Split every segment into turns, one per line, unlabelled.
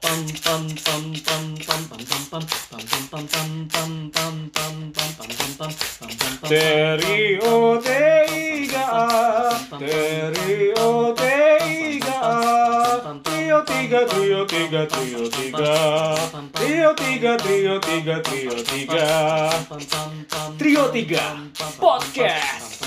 pam pam pam pam pam pam pam pam pam pam pam pam pam pam pam pam pam pam pam pam pam
Terio-teiga, terio-teiga, trio-tiga, trio-tiga, trio-tiga, trio-tiga, trio-tiga, trio-tiga. Trio Tiga Podcast.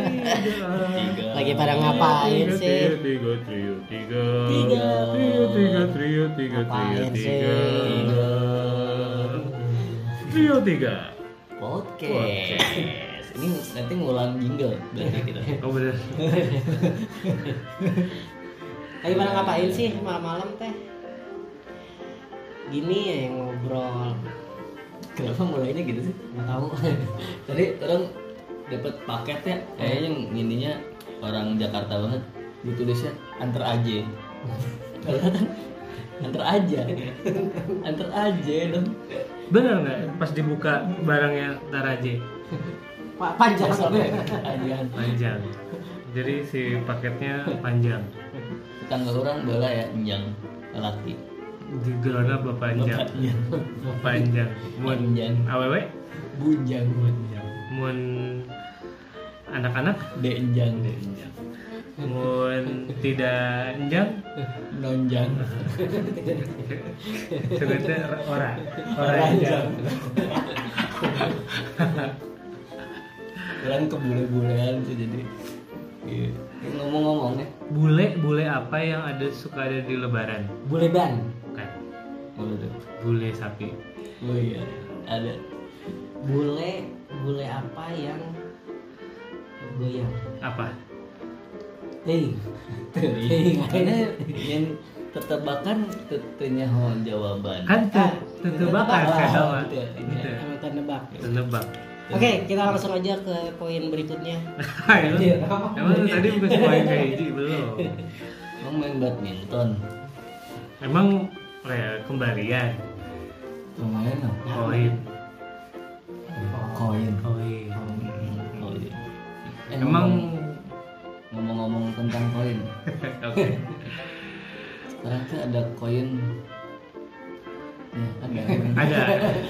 Lagi pada ngapain
Tiga,
sih?
Tiga, trio, tiga.
Tiga.
Trio, tiga, trio, tiga, trio,
Ngapain sih?
tiga. Trio, tiga.
Podcast. Ini nanti ngulang jingle berarti
gitu.
kita.
Oh bener.
Lagi pada ngapain sih malam-malam teh? Gini ya yang ngobrol. Kenapa mulainya gitu sih? Nggak tahu.
Tadi orang dapat paket ya, kayaknya intinya orang Jakarta banget ditulisnya antar aja. Padahal kan antar aja, antar aja dong.
Bener nggak pas dibuka barangnya Taraje
Pak panjang
Sampai
soalnya.
aja.
panjang. Jadi si paketnya panjang,
Tetangga orang bala ya enjang lelaki.
Iya.
digerona bepanjang,
Bapaknya.
panjang, mun
Panjang.
awewe,
Bunjang,
mun anak-anak,
denjang,
mun tidak enjang,
nonjang.
sebetulnya ora,
Oh, iya.
ora enjang.
Orang kebule-bulean sih jadi. Iya. Ngomong-ngomong ya,
Bule, bule apa yang ada suka ada di Lebaran?
Bule ban.
Bukan,
Apa tuh?
bule sapi.
Oh iya, ada.
Bule bule apa yang goyang?
Apa?
Ting. Ting.
Karena yang tertebakan tentunya jawaban.
Kan te- tetebakan kan sama.
Ah, gitu ya, ini
Gitu.
Sama tebak.
Tenebak.
Iya, Oke, kita langsung aja ke poin berikutnya.
Emang,
Iya,
emang lu tadi bukan semuanya kayak hiji belum.
Emang main badminton.
Emang kayak kembalian
Lumayan lah.
Ya.
koin,
Koin.
koin.
Oh, iya. Eh,
Emang
ngomong- ngomong-ngomong tentang koin.
oke.
Sekarang tuh ada koin. Ya, ada.
Ada.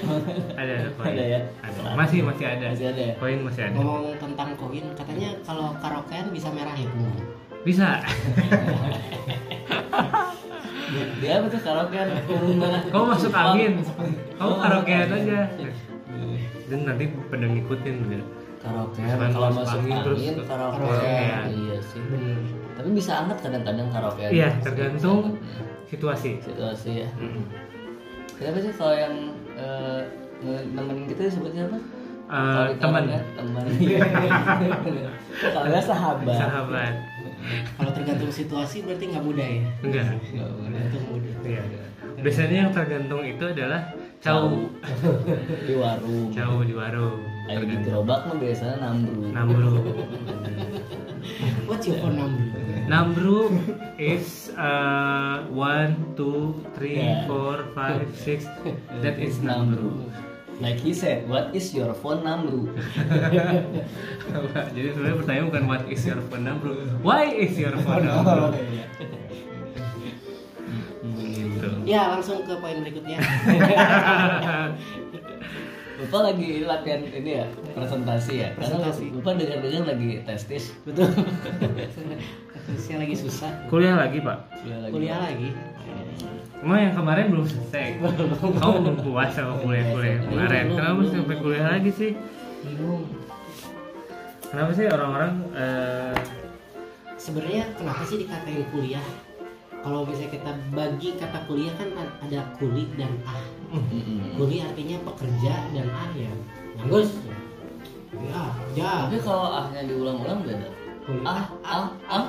Ada ada koin.
Ada ya?
Ada. Masih masih ada.
Masih ada ya?
Koin masih ada.
Ngomong tentang koin, katanya kalau karaokean bisa merah ya, hidung.
Bisa.
Dia- Dia apa tuh karaokean? Turun mana?
Kau masuk angin. Kau karaokean aja. Dan nanti pada ngikutin gitu.
Karaokean
Cuman
kalau
masuk
masuk
angin,
angin,
terus
karaokean.
karaokean.
Iya sih.
Hmm.
Tapi bisa anget kadang-kadang karaokean.
Iya, tergantung situasi.
situasi ya.
Mm-mm.
Siapa sih kalau yang eh, nge- nemenin kita sebutnya apa?
Eh,
Kalau di
teman.
kalangan, teman. Kalau nggak sahabat.
Sahabat.
Kalau tergantung situasi berarti nggak muda ya.
Enggak.
Nggak boleh.
Tergantung muda.
Iya. Biasanya yang tergantung itu adalah cau. Ah,
di warung.
Cau di warung.
Ayo di
Tergantung.
gerobak mah biasanya nambru.
Namru.
What's your phone number?
Namru is uh, one, two, three,
Yeah.
four, five, six. That is Namru.
Like he said, what is your phone nambru?
Jadi sebenarnya pertanyaan bukan what is your phone Namru, why is your phone Namru? Gitu.
Ya, langsung ke poin berikutnya.
Bapak lagi latihan ini ya, presentasi ya. Karena
Presentasi.
Bapak dengar-dengar lagi testis.
Betul. Saya lagi susah.
Kuliah lagi pak.
Kuliah lagi.
Emang yang kemarin belum selesai. Kamu belum puas sama kuliah-kuliah yang kemarin. Kenapa sampai kuliah lagi sih?
Bingung.
Kenapa sih orang-orang eh,
Sebenarnya kenapa sih dikatain kuliah? Kalau misalnya kita bagi kata kuliah kan a- ada kulit dan ah.
Hmm.
Mm-mm.
Kuli artinya pekerja dan ah ya. Nganggus. Ya, ya.
Tapi kalau ahnya diulang-ulang beda.
Kuli.
Ah, ah, ah.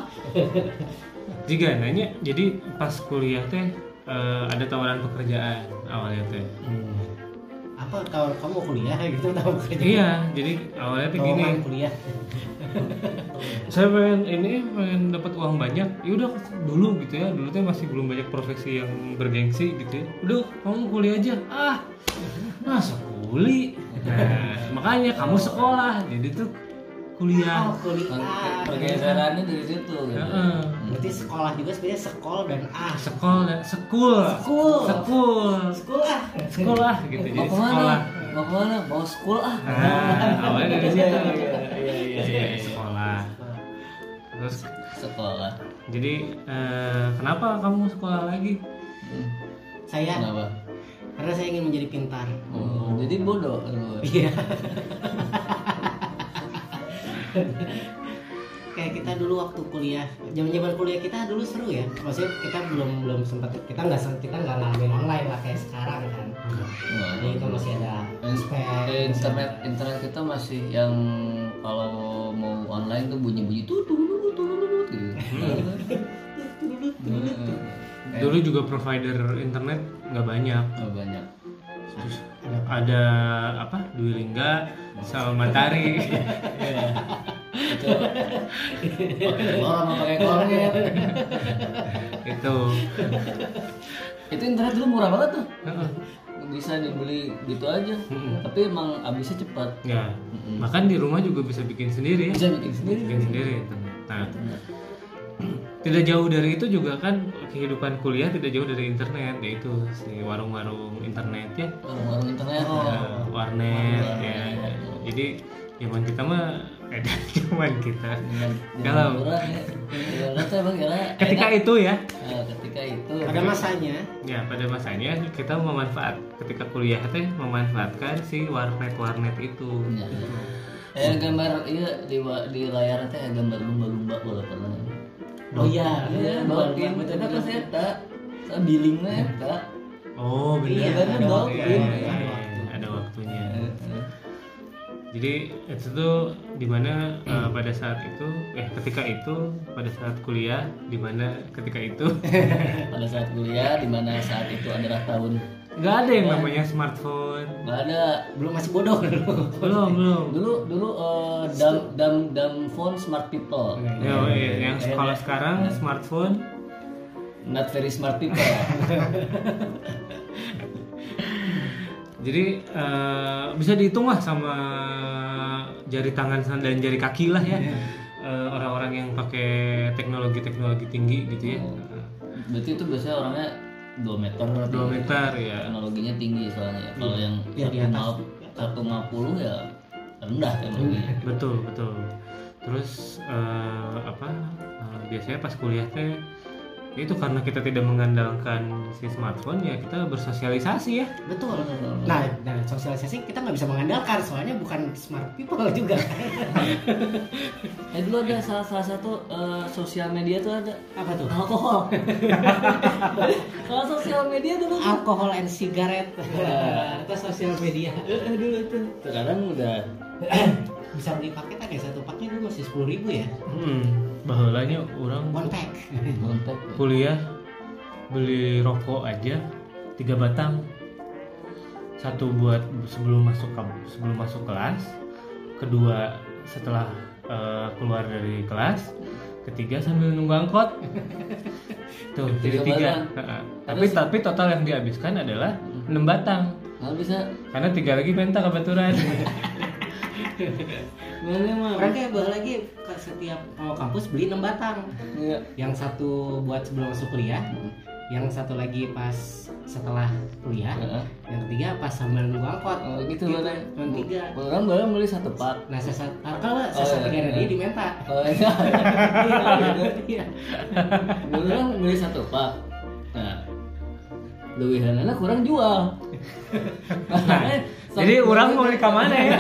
jika nanya, jadi pas kuliah teh eh, ada tawaran pekerjaan awalnya teh.
Hmm. Apa apa kalau kamu mau kuliah gitu tahu kerja
Iya, jadi awalnya tuh gini.
Lowongan kuliah
Saya pengen ini pengen dapat uang banyak. Ya udah dulu gitu ya. Dulu tuh masih belum banyak profesi yang bergengsi gitu. Ya. Udah, kamu kuliah aja. Ah. Masa kuli? Nah, makanya kamu sekolah. Jadi tuh
oh
kuliah.
kuliah
Kan pergeserannya dari situ gitu.
Heeh.
berarti sekolah juga sebenarnya sekol dan ah
Sekolah, sekul.
Sekul.
Sekul.
sekolah
Sekolah gitu.
mau
Jadi
kemana
sekolah.
mau kemana mau school ah
Nah, awalnya dari situ.
iya
Sekolah. Terus
sekolah
Jadi eh, kenapa kamu sekolah lagi?
Hmm,
saya
Nah.
kenapa
karena saya ingin menjadi pintar
Oh, jadi bodoh lu.
iya kayak kita dulu waktu kuliah zaman zaman kuliah kita dulu seru ya maksudnya kita belum belum sempat kita nggak sem- kita nggak ngalamin online lah kayak sekarang kan jadi
Iya,
itu masih ada
Inspek,
spek
internet internet kita masih yang kalau mau online tuh bunyi-bunyi tuh tuh tuh tuh tuh gitu. Eh,
Dulu juga provider internet nggak banyak.
nggak banyak.
Ada apa? Dwilingga
Hmm.
sama Matahari.
Iya. Itu pakai kolam apa pakai ya. kornet.
itu.
Itu internet dulu murah banget tuh.
Heeh.
Bisa dibeli gitu aja.
Mm-mm.
Tapi emang habisnya cepat.
Ya.
Mm-mm.
Makan di rumah juga bisa bikin sendiri ya.
Hmm. Bisa bikin sendiri.
Bikin sendiri internet. Nah, tidak jauh dari itu juga kan kehidupan kuliah tidak jauh dari internet yaitu si warung-warung internet ya.
Warung-warung internet. ya.
Nah, warnet ya. Jadi zaman kita mah eh zaman kita.
Dengan- dengan
Galau.
murah ya. Galau tuh emang galau.
Ketika
Enak.
itu ya,
Nah, ketika itu
ada masanya
ya pada masanya kita memanfaat ketika kuliah teh memanfaatkan si warnet-warnet itu.
Ya. Eh gambar iya di wa- di layar teh ada gambar lumba-lumba bola pernah.
oh iya
Iya, doakin
betul
betul apa saya tak? Saya billingnya ya tak.
Oh benar.
Iya,
ada,
ada
waktu-
waktu.
iya, iya, iya, ada Iya. waktunya. Jadi itu tuh dimana eh, pada saat itu, eh ketika itu pada saat kuliah dimana ketika itu
Pada saat kuliah di mana saat itu adalah tahun
nggak ada yang namanya smartphone.
nggak ada
belum masih bodoh dulu
Belum belum.
dulu dulu eh, dam dam dam phone smart people.
Ya, oh iya. yang kalau sekarang smartphone
Not very smart people.
jadi eh, bisa dihitung lah sama jari tangan dan jari kaki lah ya Eh, orang-orang yang pakai teknologi-teknologi tinggi gitu ya
Berarti itu biasanya orangnya 2 meter.
2 meter ya
teknologinya tinggi soalnya kalau yang
Ya, di atas.
satu lima puluh ya rendah teknologinya
betul betul terus eh, apa eh, biasanya pas kuliah teh itu karena kita tidak mengandalkan si smartphone ya kita bersosialisasi ya
Betul. Nah, nah sosialisasi kita nggak bisa mengandalkan soalnya bukan smart people juga.
eh dulu ada salah, salah satu eh, sosial media tuh ada
Apa tuh?
alkohol kalau sosial media dulu tuh,
Alkohol and cigarette atau sosial media.
eh, dulu tuh sekarang udah
Bisa beli paketan ya satu paknya dulu masih sepuluh ribu ya.
hmm, bahulanya orang
One pack.
kontak ya.
kuliah beli rokok aja tiga batang satu buat sebelum masuk kam- sebelum masuk kelas kedua setelah eh, keluar dari kelas ketiga sambil nunggu angkot tuh jadi
Tiga
tiga
batang.
Heeh. tapi tapi total yang dihabiskan adalah enam batang
nggak bisa
karena tiga lagi minta kebetulan
mana mah
Orang kayak bah lagi ke setiap mau kampus beli enam batang.
Iya.
Yang satu buat sebelum masuk kuliah, yang satu lagi pas setelah kuliah,
Heeh.
yang ketiga pas sambil nunggu angkot.
Iya. Oh, gitu mana
Gitu, cuma tiga.
orang baru beli satu pak
Nah, sesat, kalau
Oh,
sesat
iya,
negara
iya.
dia dimenta.
oh iya
Iya.
dulu kan beli satu pak nah lewihanana kurang jual Makanya
jadi
sampai-
orang mau di mana ya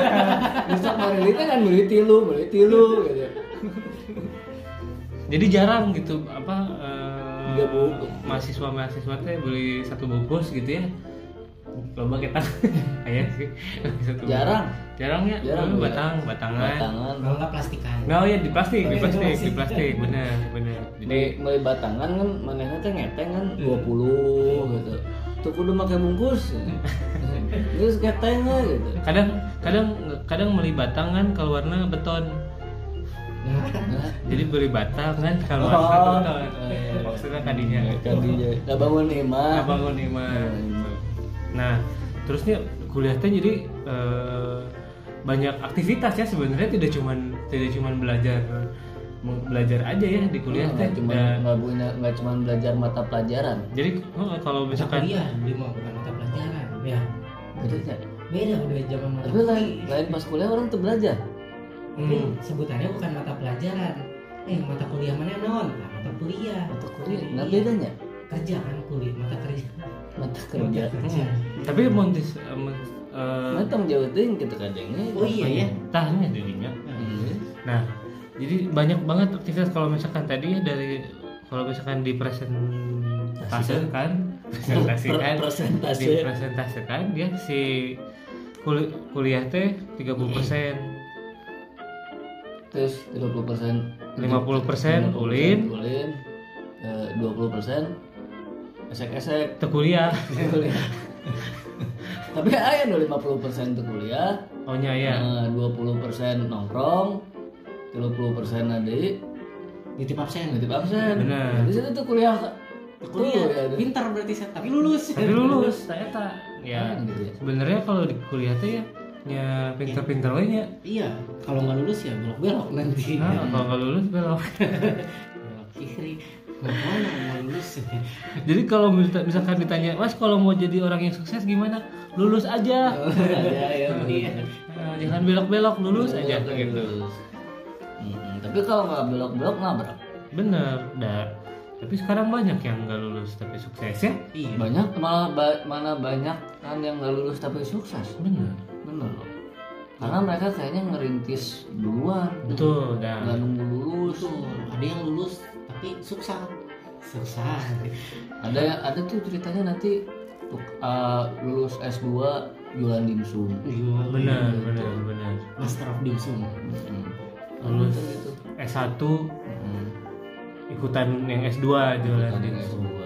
Besok Marili teh kan beli tilu, beli tilu gitu.
jadi jarang gitu apa eh,
Tiga buku.
mahasiswa mahasiswa teh beli satu bungkus gitu ya coba kita ayah sih beli satu bungkus.
Jarang.
jarang ya
Jarang,
Dulu
iya.
batang batangan
Batangan.
Kalau nggak plastikan.
nggak oh ya di plastik di
Oh, iya,
plastik
plastik.
di plastik benar benar
Jadi
jadi
Iya. mulai batangan kan manehna teh ngeteng kan 20 gitu. tuh kudu pakai bungkus terus katanya gitu
kadang kadang kadang beli batang kan keluarnya beton
Nah,
jadi beli batang kan kalau
Oh. Iya,
beton maksudnya kadinya
tadinya nggak bangun Nah, nih mah
abang gue nih Mas. nah terusnya kuliahnya jadi eh, banyak aktivitas ya sebenarnya tidak cuman tidak cuman belajar belajar aja ya di kuliah teh
nggak cuma
Nah,
nggak punya nggak cuma belajar mata pelajaran
jadi eh, kalau
Mata
misalkan
kuliah, dia mah Iya, bukan mata pelajaran. Ya,
beda ya
beda udah zaman mata
Iya. tapi lain lain pas kuliah orang tuh belajar
Tapi sebutannya bukan mata pelajaran. Eh, mata kuliah mana non? Nah, mata kuliah.
mata kuliah Iya, nggak bedanya
Kerja kan kuliah, mata kerja.
mata kerja
Mata kerja. Hmm.
tapi montis eh, mon- eh,
Nah, tong jauh ting kita kadangnya
Oh iya ya.
tahnya jadinya Nah, jadi banyak banget aktivitas kalau misalkan tadi ya dari kalau misalkan
Nah,
dipresentasikan,
Iya kan?
presentasikan,
Per- presentasi.
dipresentasikan ya si kul- kuliah teh 30%,
terus 30 persen
50% ulin.
ulin Eh, dua puluh persen esek esek
teh kuliah.
kuliah tapi ayah nu 50% puluh persen untuk kuliah Eh,
Ohnya ya.
Iya.
dua puluh persen nongkrong 30% puluh persen nanti
Nitip absen.
ngitip absen
Bener.
di situ tuh kuliah tuh
Kuliah.
ya ada.
Pintar berarti saya, tapi lulus.
Tapi lulus saya tak ya.
Keren gitu ya.
Sebenarnya kalau di kuliah teh ya ya pinter-pinter we nya.
Iya, kalau nggak lulus ya belok-belok nanti.
Nah, kalau nggak lulus belok.
Belok kiri. Mana mau lulus?
Jadi kalau misal- misalkan ditanya, "Mas, kalau mau jadi orang yang sukses gimana?" Lulus aja.
Ada ya,
Iya.
Nah, jangan belok-belok, lulus aja gitu.
Iya, Mm-mm, tapi kalau nggak belok-belok nabrak
Bener, dah. Tapi sekarang banyak yang nggak lulus tapi sukses ya.
Iya.
banyak malah ba- mana banyak kan yang nggak lulus tapi sukses
Bener.
bener loh karena mereka kayaknya ngerintis duluan
Betul,
nggak
dah.
nunggu lulus
Betul, ada yang lulus tapi susah. Susah.
ada ada tuh ceritanya nanti uh, lulus S2 jualan dimsum
Bener,
Iya,
bener, bener.
Master of Dimsum.
Mm-mm.
Lulus
Gitu, gitu.
S1
Mm-mm.
ikutan yang S2 jualan
Ada yang
dimsum.
S2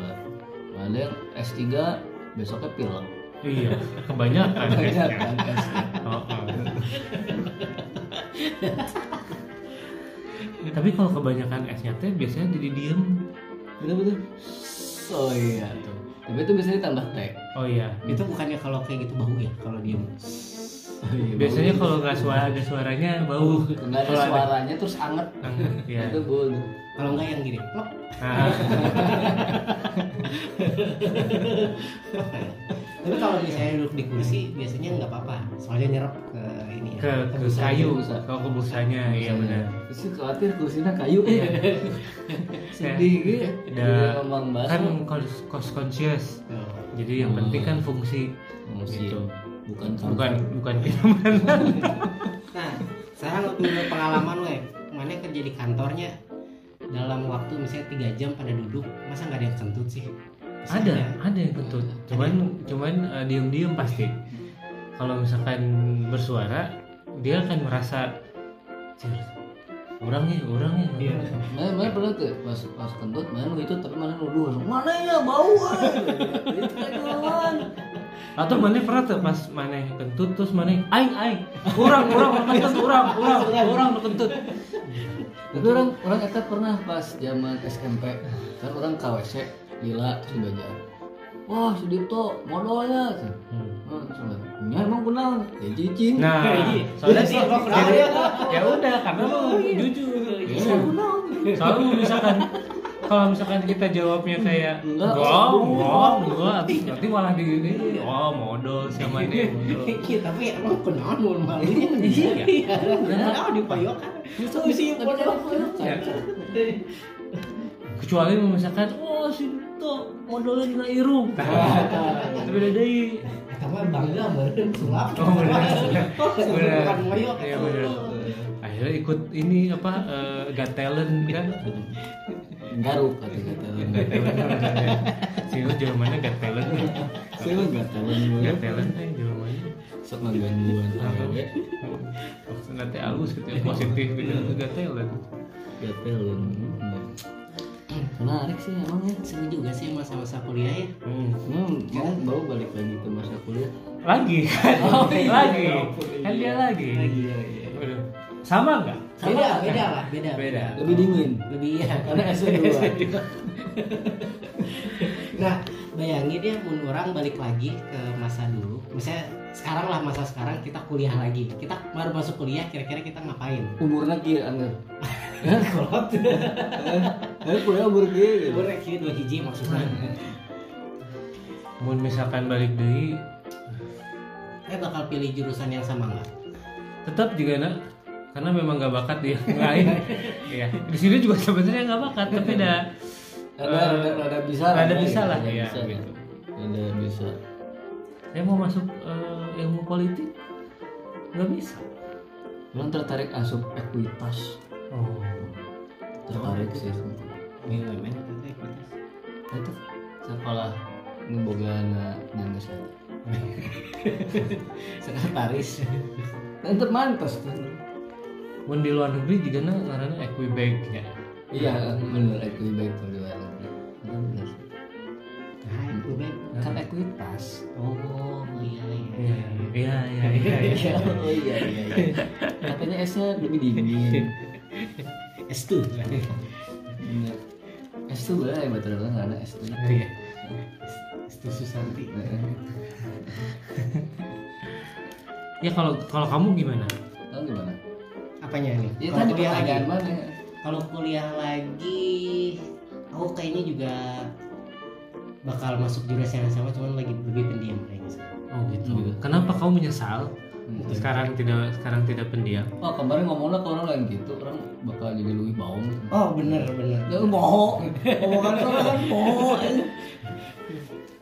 ada yang S3 besoknya pilek
Iya, kebanyakan.
Banyak
S-nya.
kan S3.
Oh, oh. Tapi kalau kebanyakan S-nya teh biasanya jadi diem.
bener bener oh iya tuh tapi itu biasanya tambah T
Oh iya.
Itu bukannya kalau kayak gitu bau ya kalau diem.
Oh iya,
Biasanya
bau.
kalau nggak suara ada suaranya bau.
nggak ada
Kalau ada-
suaranya terus anget gitu,
Iya.
itu bau tuh.
Kalau nggak yang gini, plok.
Nah,
plok ya. Tapi kalau misalnya duduk di kursi biasanya nggak apa-apa, soalnya nyerap ke ini ya.
ke ke
busa.
kayu
busa.
kalau ke busanya iya benar
Terus sih khawatir kursinya kayu
Iya.
sedih gitu
Dah.
Dia ngomong
Iya. kan
bareng
cost, cost conscious
Tuh.
jadi yang
Hmm.
penting kan fungsi
Emosi.
gitu.
bukan kamu.
bukan bukan kenyamanan
Nah, sekarang menurut pengalaman lo ya, mana kerja di kantornya dalam waktu misalnya tiga jam pada duduk, masa nggak ada yang kentut sih? Pasti
ada ada yang kentut cuman cuman eh, diem-diem pasti kalau misalkan bersuara dia akan merasa "Cir, orang nih orang nih
Iya.
orang nih."
Mana mana pernah tuh pas pas kentut mana lu itu tapi mana nuduh langsung mana ya bau eh." Itu kan duluan.
atau mana pernah tuh pas mana kentut terus mana aing aing kurang kurang kentut kurang kurang kurang kentut
Tapi orang orang eta pernah pas zaman SMP kan orang KWC gila terus dibaca. Wah, si Dipto modalnya.
Hmm.
Oh, terus orang, "Nya emang kenal. Ya cicing.
nah
Iya.
soalnya
Iya,
sih
gua kurang.
ya udah karena lu jujur
"Nya kenal."
Soalnya misalkan kalau misalkan kita jawabnya kayak
Enggak.
enggak, enggak, enggak, nanti malah di ini, oh modal sama ini, modal.
Iya, tapi emang kenal normalnya Iya, iya, nggak tahu di
Iya.
payokan. Iya, Justru sih
Ya. Kecuali misalkan, oh si itu modalnya kena irung, itu beda deh.
Eta mah bangga meureun sulap.
Oh, bener. Bener.
Bukan moyok.
Iya, bener. Akhirnya ikut ini apa, eh, got talent kan?
Garuk kata-kata.
Got talent, namanya. si itu jawabannya got talent,
Saya mah enggak tahu
got talent, eh jawabannya.
sok ngegangguan awewe.
Maksudnya nanti Hmm. halus gitu, ya, positif gitu, got talent.
Gatel. menarik sih emang ya
seru juga sih masa-masa kuliah ya
hmm. mau mau balik lagi ke masa kuliah
lagi kan
Oh, iya.
lagi
Ya ampun,
kan dia
iya.
lagi
lagi lagi
Waduh. sama nggak
Sama
beda
lah,
beda
kan?
lah beda
beda
lebih dingin
lebih ya
karena S2
nah bayangin ya mun orang balik lagi ke masa dulu misalnya sekarang lah masa sekarang kita kuliah lagi kita baru masuk kuliah kira-kira kita ngapain
umurnya kia aneh
kolot
eh kuliah umur kia gitu
umurnya kira dua hiji maksudnya
mau misalkan balik deui
eh bakal pilih jurusan yang sama nggak
tetap juga nak karena memang nggak bakat dia yang lain ya di sini juga sebenarnya nggak bakat tapi ada
ada ada ada bisa
Eh,
ya.
Ada bisa lah,
ada
iya,
bisa
gitu.
ada bisa
saya mau masuk eh, ilmu politik nggak bisa
belum tertarik asup ekuitas
oh
tertarik sih
BUMN atau ekuitas
itu sekolah ngeboga anak nangis
sekretaris
itu mantas tuh
Mun di luar negeri juga nak karena equibank ya
iya bener ekuitas kalau di luar negeri Itu bener.
nah itu Ben.
kan ekuitas
oh iya iya
iya iya iya iya
oh iya iya iya. katanya esnya lebih dingin
S2 Iya.
bener es tuh boleh ya betul betul nggak ada es tuh
Iya.
S2 Susanti
ya kalau kalau kamu gimana
Lalu gimana?
apanya nih
Ya
Kalau
tadi
kuliah lagi
pertanyaan mana?
kalau kuliah lagi aku kayaknya juga bakal masuk jurusan yang sama cuman lagi lebih pendiam kayaknya sekarang.
oh gitu kenapa kamu menyesal
Hmm.
sekarang tidak sekarang tidak pendiam
Oh kemarin ngomongnya ke orang lain gitu, orang bakal jadi lebih baung.
oh bener bener
Ya bohong, omongan orang kan bohong.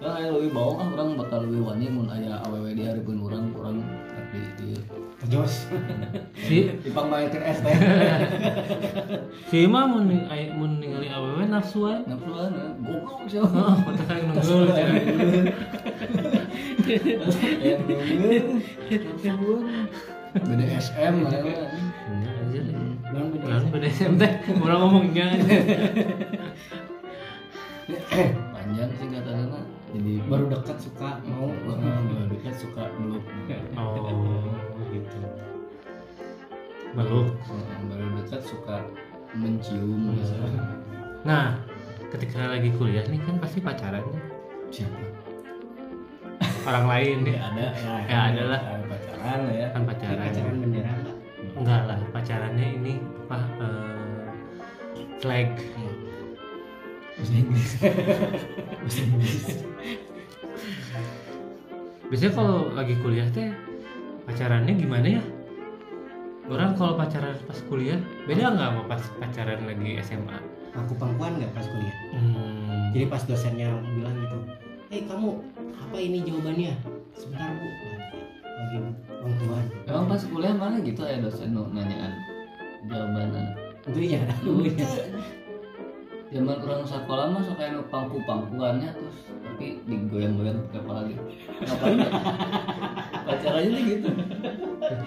Orang yang lebih baung ah orang bakal lebih wani mun aya aww di hari pun orang orang tapi di
jos
si
dipang mayakeun es teh.
si mah mun ay- mun ningali awewe nafsu aja
Nafsu kan goblok sih. orang.
oh kata kan nunggul cara.
Aya nu ngeul. Nafsu. BDSM lah.
Bener aja lah.
bang beda
Jangan pada SMP, mulai ngomongnya
Panjang singkatannya jadi
baru dekat suka mau
baru dekat suka meluk.
Oh, gitu Meluk
Orang baru dekat suka mencium misalnya.
Nah, ketika lagi kuliah nih kan pasti pacaran nih.
siapa
Orang lain nih
ya ada ya,
Ya, ada lah.
pacaran lah ya
Kan pacaran
pacaran bendera nggak
Enggak lah, pacarannya ini apa eh, Flag
bahasa Inggris bahasa Inggris
Biasanya kalau lagi kuliah teh Pacarannya gimana ya? Orang kalau pacaran pas kuliah Beda nggak sama pas pacaran lagi SMA?
aku pangkuan nggak pas kuliah
Hmm,
jadi pas dosennya bilang gitu eh kamu apa ini jawabannya sebentar bu lagi pangkuan
emang pas kuliah mana gitu ya dosen nu nanyaan jawaban anak
itu ya ada dulunya
zaman orang sekolah mah suka yang pangku pangkuannya terus tapi digoyang-goyang pakai kepala gitu ngapain ya? pacarannya tuh gitu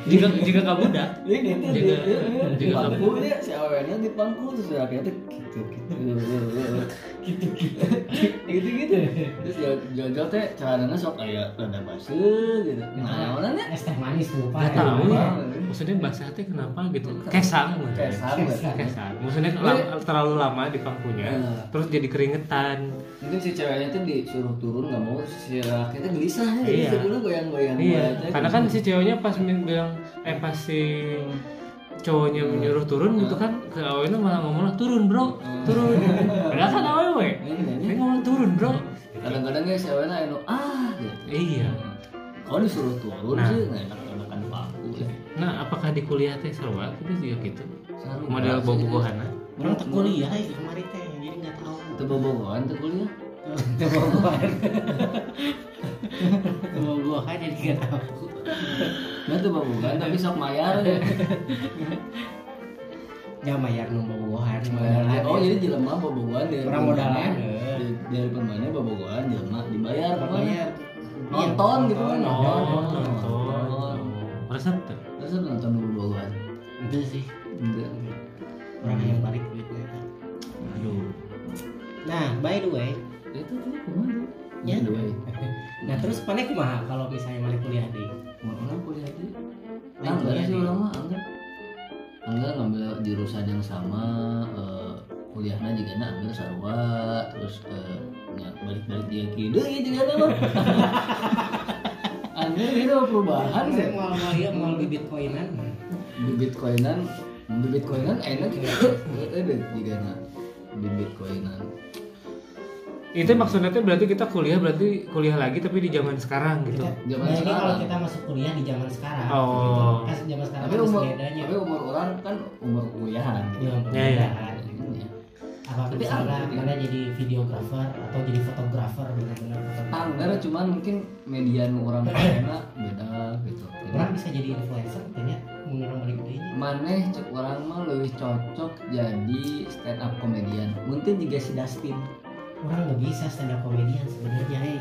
Jika, jika kamu udah
Jadi gitu
Jaga-
di
jaga
pangkunya si awalnya di pangku terus akhirnya tuh gitu gitu gitu gitu gitu gitu terus jauh- jauh-jauh teh celananya sok kayak rada basi gitu nah mana nih
es teh manis lupa
Nggak
ya.
tahu ya.
Apa?
Maksudnya bahasa teh kenapa gitu? Kesang. mah.
kesan
Kesan.
Kesang. Kan? Maksudnya la- terlalu lama di pangkunya,
Nah.
terus jadi keringetan.
mungkin si ceweknya tuh disuruh turun nggak mau si laki tuh gelisah ya
Iya.
jadi dulu goyang-goyang ya.
Iya.
goyang-goyang.
Karena kan si ceweknya pas min- bilang eh pas si cowoknya menyuruh turun gitu kan ke awalnya malah ngomong lah, turun bro turun padahal kan awewe
Iya.
dia ngomong turun bro
kadang-kadang ya si awalnya eno ah gitu
iya
kalau disuruh turun
Nah.
sih nggak enak-enakan pangku ya
nah apakah di kuliah teh serba kita juga gitu
Seru
model ah.
banget sih.
bobo-bobohana
orang tak kuliah ya kemarin teh jadi nggak tahu
Tebobogohan tuh kuliah.
Tebogohan Tebogohan jadi gak tahu
Nah tebobogohan tapi sok mayar. ya.
Ya mayar nu bobogohan
Mayar. Oh jadi jelema bobogohan dari
Orang modalan.
ya.
Dari- Dari pemainnya bobogohan jelema dibayar pokoknya.
Mayar
Nonton gitu kan.
oh
Oh.
nonton resep tuh
Terus lu nonton bobogohan.
Itu sih
Enggak.
Orang yang balik duitnya
aduh
nah by the way
itu tuh kemana
Ya.
dua
nah terus mana kumaha kalau misalnya mana kuliah di
mau orang Eh, kuliah di
Lain
anggar
kuliah
sih
di-
orang mah anggar anggar ngambil jurusan yang sama eh, kuliahnya juga na anggar sarwa terus eh, nya balik-balik dia kieu deui juga na mah anggar itu perubahan sih
saya mau mau iya mau bibit koinan
bibit koinan bibit koinan enak ya.
Iya.
Eh, ada juga na bibit koinan
itu maksudnya tuh berarti kita kuliah berarti kuliah lagi tapi di zaman sekarang gitu
kita
Zaman
bayangin kalau
sekarang.
kita masuk kuliah di zaman sekarang
Oh.
gitu. kan zaman sekarang
tapi
harus
umur
bedanya
tapi umur orang kan umur kuliahan gitu.
Iya,
Ya, ya.
perbedaan.
Iya.
apa
Tapi
misalnya
anggar.
mana jadi videographer atau jadi fotografer benar-benar fotografer
Anggar cuman mungkin median orang karena beda gitu.
orang bisa jadi influencer katanya mungkin orang balik dirinya
Maneh cek orang mah lebih cocok jadi stand up komedian. Mungkin juga si Dustin.
orang nggak bisa stand up komedian sebenarnya hei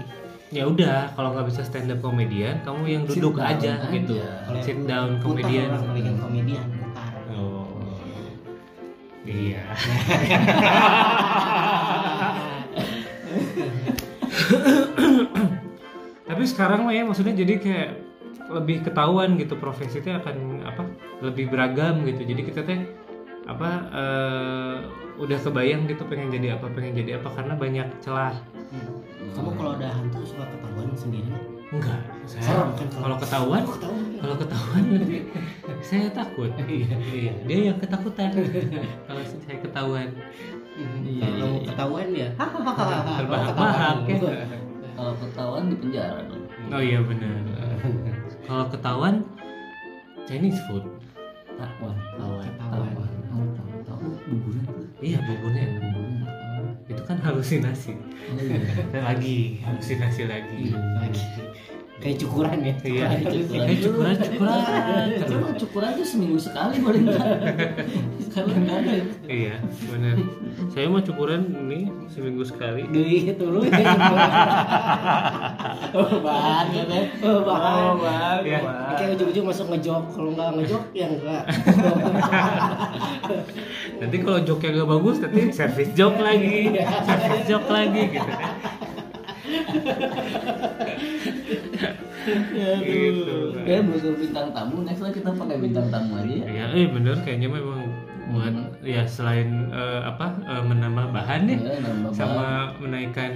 ya udah kalau nggak bisa stand up komedian kamu yang duduk
Sit down
aja gitu
aja.
sit down komedian
orang balikin komedian putar
oh iya tapi sekarang mah ya maksudnya jadi kayak lebih ketahuan gitu profesi teh akan apa lebih beragam gitu jadi kita teh apa eh, udah kebayang gitu pengen jadi apa pengen jadi apa karena banyak celah
kamu kalau ada hantu suka ketahuan sendiri nggak?
enggak saya
serem kan
kalau ketahuan
Aku ketahuan
kalau ketahuan berarti saya takut iya iya dia yang ketakutan kalau saya ketahuan
Iya,
kalau
iya,
mau
iya.
ketahuan ya
Terbahak-bahak, ya.
Kalau eh, ketahuan di penjara dong.
oh iya benar kalau ketahuan Chinese food
Takwan.
ketahuan
ketahuan
Tahu tahu tahu. Buburan.
iya buburnya enak.
Buburan.
itu kan halusinasi
Oh, iya.
Dan lagi halusinasi lagi
lagi kayak cukuran ya
iya
cukuran.
Eh, cukuran cukuran
Cuma cukur aja seminggu sekali boleh nggak? Kalau nggak ada ya.
iya benar saya mau cukuran ini seminggu sekali
Deui tuluy ya cukuran.
Oh, bahan ya kan?
Oh, bahan. Ya.
bahan.
Iya.
bahan.
Kayak ujung-ujung masuk ngejok, kalau nggak ngejok ya enggak.
nanti kalau joknya gak bagus nanti service jok lagi service jok lagi gitu kan gitu
Ya butuh bintang tamu, next lah kita pakai bintang tamu aja ya.
ya eh bener kayaknya memang buat
Hmm.
ya selain eh, apa eh, menambah bahan ya
Ya, nambah bahan.
sama menaikkan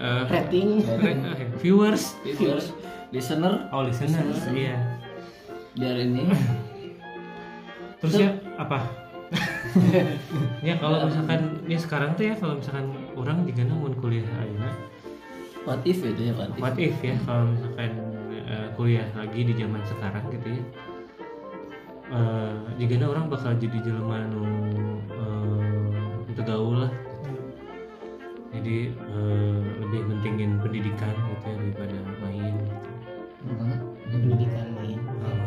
eh,
Rating.
re- eh, viewers
viewers, listener
oh listeners iya
biar ini
terus ya apa ya
Iya.
kalau misalkan ya sekarang tuh ya kalau misalkan orang jika namun kuliah ayeuna
what if itu ya what if.
what if ya kalau misalkan eh, kuliah lagi di zaman sekarang gitu ya Eh, jika orang bakal jadi jelema nu eh, teu gaul lah gitu. jadi eh, lebih mentingin pendidikan gitu ya daripada main gitu.
Pendidikan main.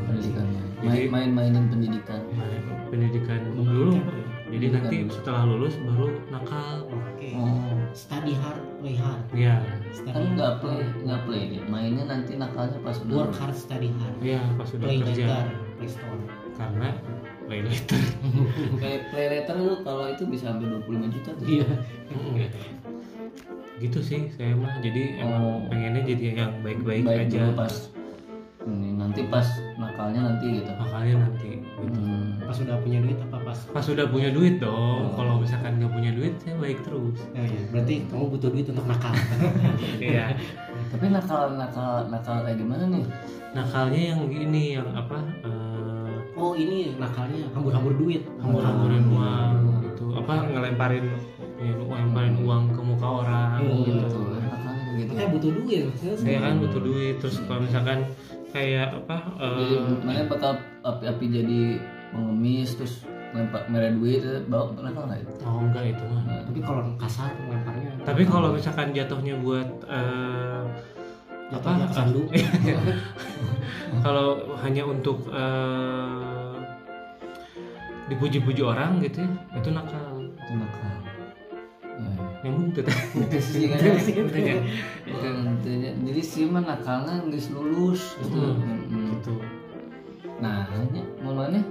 pendidikan main
Jadi-
main mainin pendidikan
Main pendidikan dulu jadi
Pendidikan
nanti
dulu.
setelah lulus baru nakal
Oke.
oh
Study hard, play hard.
ya
Study
kan nggak
hard,
play nggak play dia. mainnya nanti nakalnya pas udah
Work hard, study hard.
ya pas sudah
Play
kerja
later, play store.
karena play later
play, play letter lu kalau itu bisa sampai 25 juta tuh.
Iya.
gitu sih saya mah jadi
Oh.
emang pengennya jadi yang baik-baik
baik
aja
dulu pas ini nanti pas nakalnya nanti gitu
makanya nanti gitu.
Hmm.
Pas sudah punya duit apa pas?
pas udah punya duit dong
Oh.
kalau misalkan nggak punya duit saya baik terus
Nah, ya. Berarti kamu butuh duit untuk nakal.
iya
tapi nakal nakal nakal kayak gimana nih
nakalnya yang gini yang apa eh,
oh ini nakalnya hambur-hambur duit.
Iya.
nghamburin uang gitu apa ngelemparin ya, ngelemparin
Hmm.
uang ke muka orang
Oh,
gitu
gitu nakalnya kayak gitu
Makanya butuh duit maksudnya.
saya kan
Hmm.
butuh duit terus kalau misalkan kayak apa eh,
jadi mana bakal api-api jadi pengemis terus lempar merah duit eh, bawa nakal nggak Nah, itu
oh enggak itu mah
Tapi kalau kasar lemparnya
tapi kalau misalkan jatuhnya buat eh, apa Iya.
jatuhnya ke sandu.
kalau hanya untuk eh, dipuji-puji orang gitu ya itu nakal
itu nakal Ya.
nyambung tuh teh.
Itu sih kan
Itu sih, itu ya.
Itu, itu ya. Jadi sih mah nakalnya nggak lulus gitu.
Hmm.
Mm-mm.
gitu
Nah, ya, mau mana?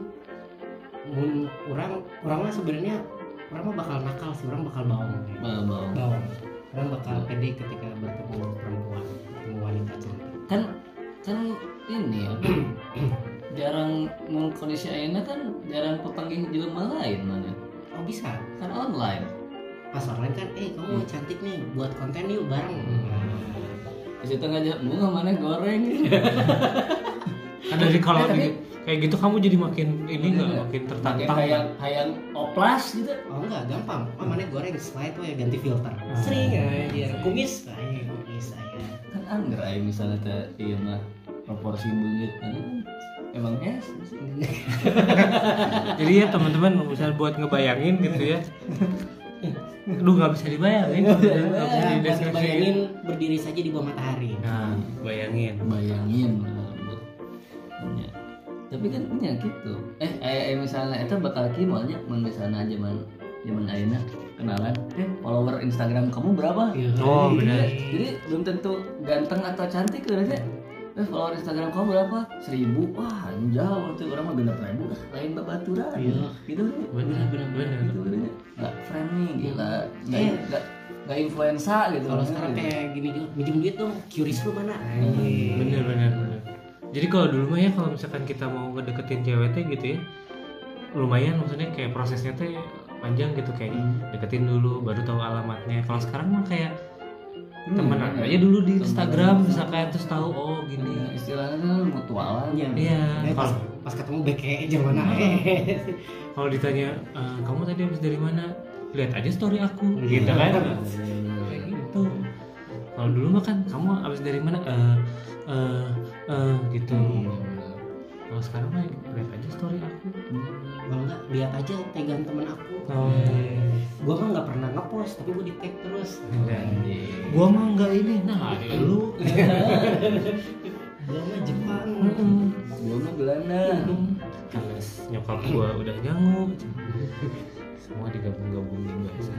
Mun orang orang mah sebenarnya orang mah bakal nakal sih orang bakal baong kayaknya.
Bau bau.
baong orang bakal pede ketika bertemu perempuan bertemu wanita cantik
Kan kan ini ya. jarang mun kondisi ayeuna kan jarang pepanggih jelema lain mana.
oh bisa
Kan online.
pas online kan eh
Hmm.
kamu cantik nih buat konten yuk bareng
Hmm. Di situ ngajak bunga mana goreng.
kan dari kalau
Eh, tapi-
ini- kayak gitu kamu jadi makin ini nggak makin
Pakai
tertantang
hayang hayang oplas gitu.
oh enggak gampang oh mana goreng slide tuh ya ganti filter
Ah.
sering aja kumis aja kumis aja
Kan anggar aja misalnya teh iya mah proporsi bungit kan emang es
jadi ya teman-teman misalnya buat ngebayangin gitu ya aduh nggak bisa dibayangin
Nggak bisa
Iya, Nggak bisa
ya, pas
dideskripsiin.
bayangin berdiri saja di bawah matahari
nah bayangin
bayangin bener. Ya. tapi kan nya gitu eh eh, eh, misalnya itu bakal kimalnya mun misalnya zaman zaman ayeuna kenalan eh follower Instagram kamu berapa Iya.
Oh,
Iya.
benar.
jadi belum tentu ganteng atau cantik kan ya eh follower Instagram kamu berapa seribu wah jauh tuh orang mah genap ribu Ah, lain babaturan
Iya.
gitu
benar benar benar
gitu benernya nggak friendly gila nggak
Iya.
nggak nggak influenza gitu
Iya.
kalau sekarang kayak gini juga minjem duit dong curious lu mana
bener bener bener jadi kalau dulu mah ya kalau misalkan kita mau ngedeketin cewek teh gitu ya lumayan maksudnya kayak prosesnya teh panjang gitu kayak deketin dulu baru tahu alamatnya kalau sekarang mah kayak
Hmm,
temenan
iya.
aja dulu di
Temenan.
Instagram misalkan terus tahu oh gini
istilahnya kan mutualan
Iya.
iya
Eh, pas,
kalau
pas ketemu beke aja mana eh.
kalau ditanya e, kamu tadi habis dari mana lihat aja story aku
Hmm.
gitu kan kayak gitu kalau dulu mah kan kamu habis dari mana eh eh eh gitu
Hmm.
kalau sekarang mah lihat aja story aku
kalau enggak lihat aja tegan temen aku
Oh.
Hmm.
gua mah nggak pernah ngepost tapi gua di tag terus
Iya. dan gua mah nggak ini nah ya lu
gua mah Jepang
Gua mah Belanda.
Terus nyokap gua udah nyanggu semua digabung-gabungin bahasa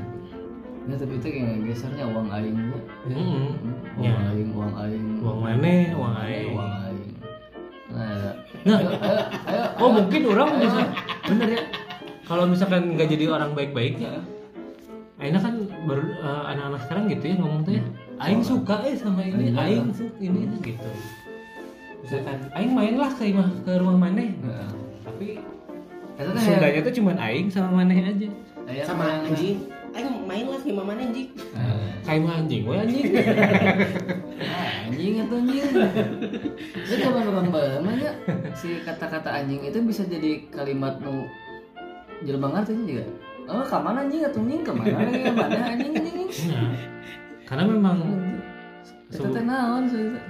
Nah tapi itu kayak gesernya uang aing ya.
Mm-mm.
Uang
Ya.
aing, uang aing.
uang mana uang aing
Uang aing. Nah, ya.
Nah.
ayo, ayo, ayo,
oh mungkin orang bisa bener ya kalau misalkan nggak jadi orang baik-baik
Iya.
ya Aina kan baru eh, anak-anak sekarang gitu ya ngomong tuh ya. Aing suka eh sama ini,
Aing
aing
suka.
suka ini gitu. Misalkan aing mainlah ke rumah ke rumah maneh.
Heeh.
Tapi
Eta Nah, teh
sundanya tuh cuman aing sama maneh aja.
hayang-
sama
hayang-
anjing ayo main lah sama mana anjing
Nah,
Kayak mah anjing, wah anjing.
ah, Anjing atau anjing. Itu kapan orang banget ya? Si kata-kata anjing itu bisa jadi kalimat nu jelema ngartinya juga. Oh, kemana anjing atau anjing kemana? anjing, Kemana anjing anjing? anjing.
Nah, karena memang
Eta teh naon sih? Eta?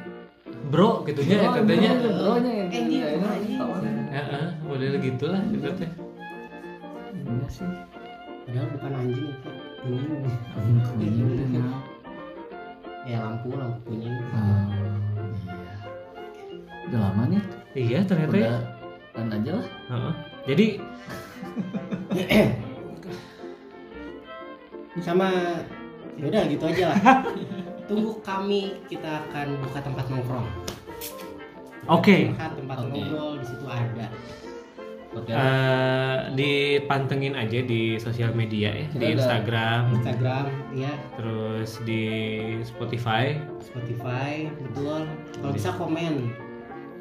bro gitunya ya katanya.
bronya
iya,
yang
Eh, gitu, anjing.
Heeh, model gitulah gitu teh.
Enggak sih.
padahal bukan anjing itu
Iya,
kuning ya lampu lampu kuning
Oh, iya. Udah lama nih.
Iya, ternyata ya.
Udah kan aja lah.
Heeh. Jadi
sama ya udah gitu aja lah tunggu kami kita akan buka tempat nongkrong
oke.
Buka tempat
Oke.
ngobrol di situ ada
Oke.
Eh, dipantengin aja di sosial media ya, di
Kita ada-
Instagram,
Instagram ya
terus di Spotify.
Spotify betul kalau bisa komen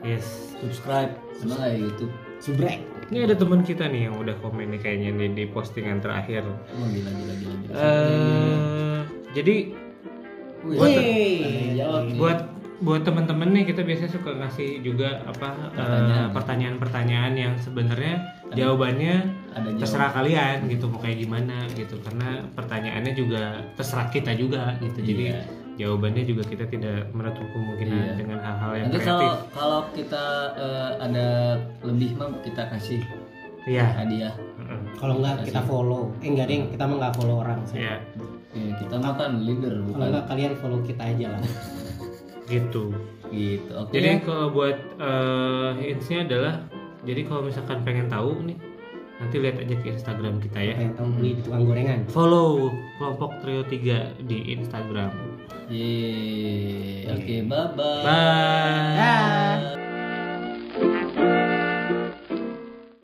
Yes.
Subscribe. Sama lah ya YouTube.
subrek
Ini ada teman kita nih yang udah komen nih kayaknya nih di postingan terakhir.
Emang gila gila gila.
Iya.
gila.
eh jadi
Wih,
Wih.
ada yang jawab nih.
buat buat teman-teman nih kita biasanya suka ngasih juga apa eh,
Pertanyaan.
pertanyaan-pertanyaan yang sebenarnya jawabannya
ada
terserah kalian gitu mau kayak gimana gitu karena pertanyaannya juga terserah kita juga gitu. Jadi
Iya.
jawabannya juga kita tidak menutup kemungkinan
Iya.
dengan hal-hal yang
Nanti
kreatif.
kalau kalau kita eh, ada lebih mah kita kasih
Iya.
hadiah.
Heeh.
kalau enggak kita follow eh enggak ding kita mah enggak follow orang sih
Iya,
Ya, kita mah kan leader
kalau
bukan
enggak kalian follow kita aja lah
gitu.
gitu. Oke.
Jadi kalau buat eh, hintsnya adalah jadi kalau misalkan pengen tahu nih nanti lihat aja ke Instagram kita ya.
pengen tahu beli di tukang gorengan
Follow kelompok Trio 3 di Instagram.
Yeay. Oke, bye-bye.
Bye.
Dah.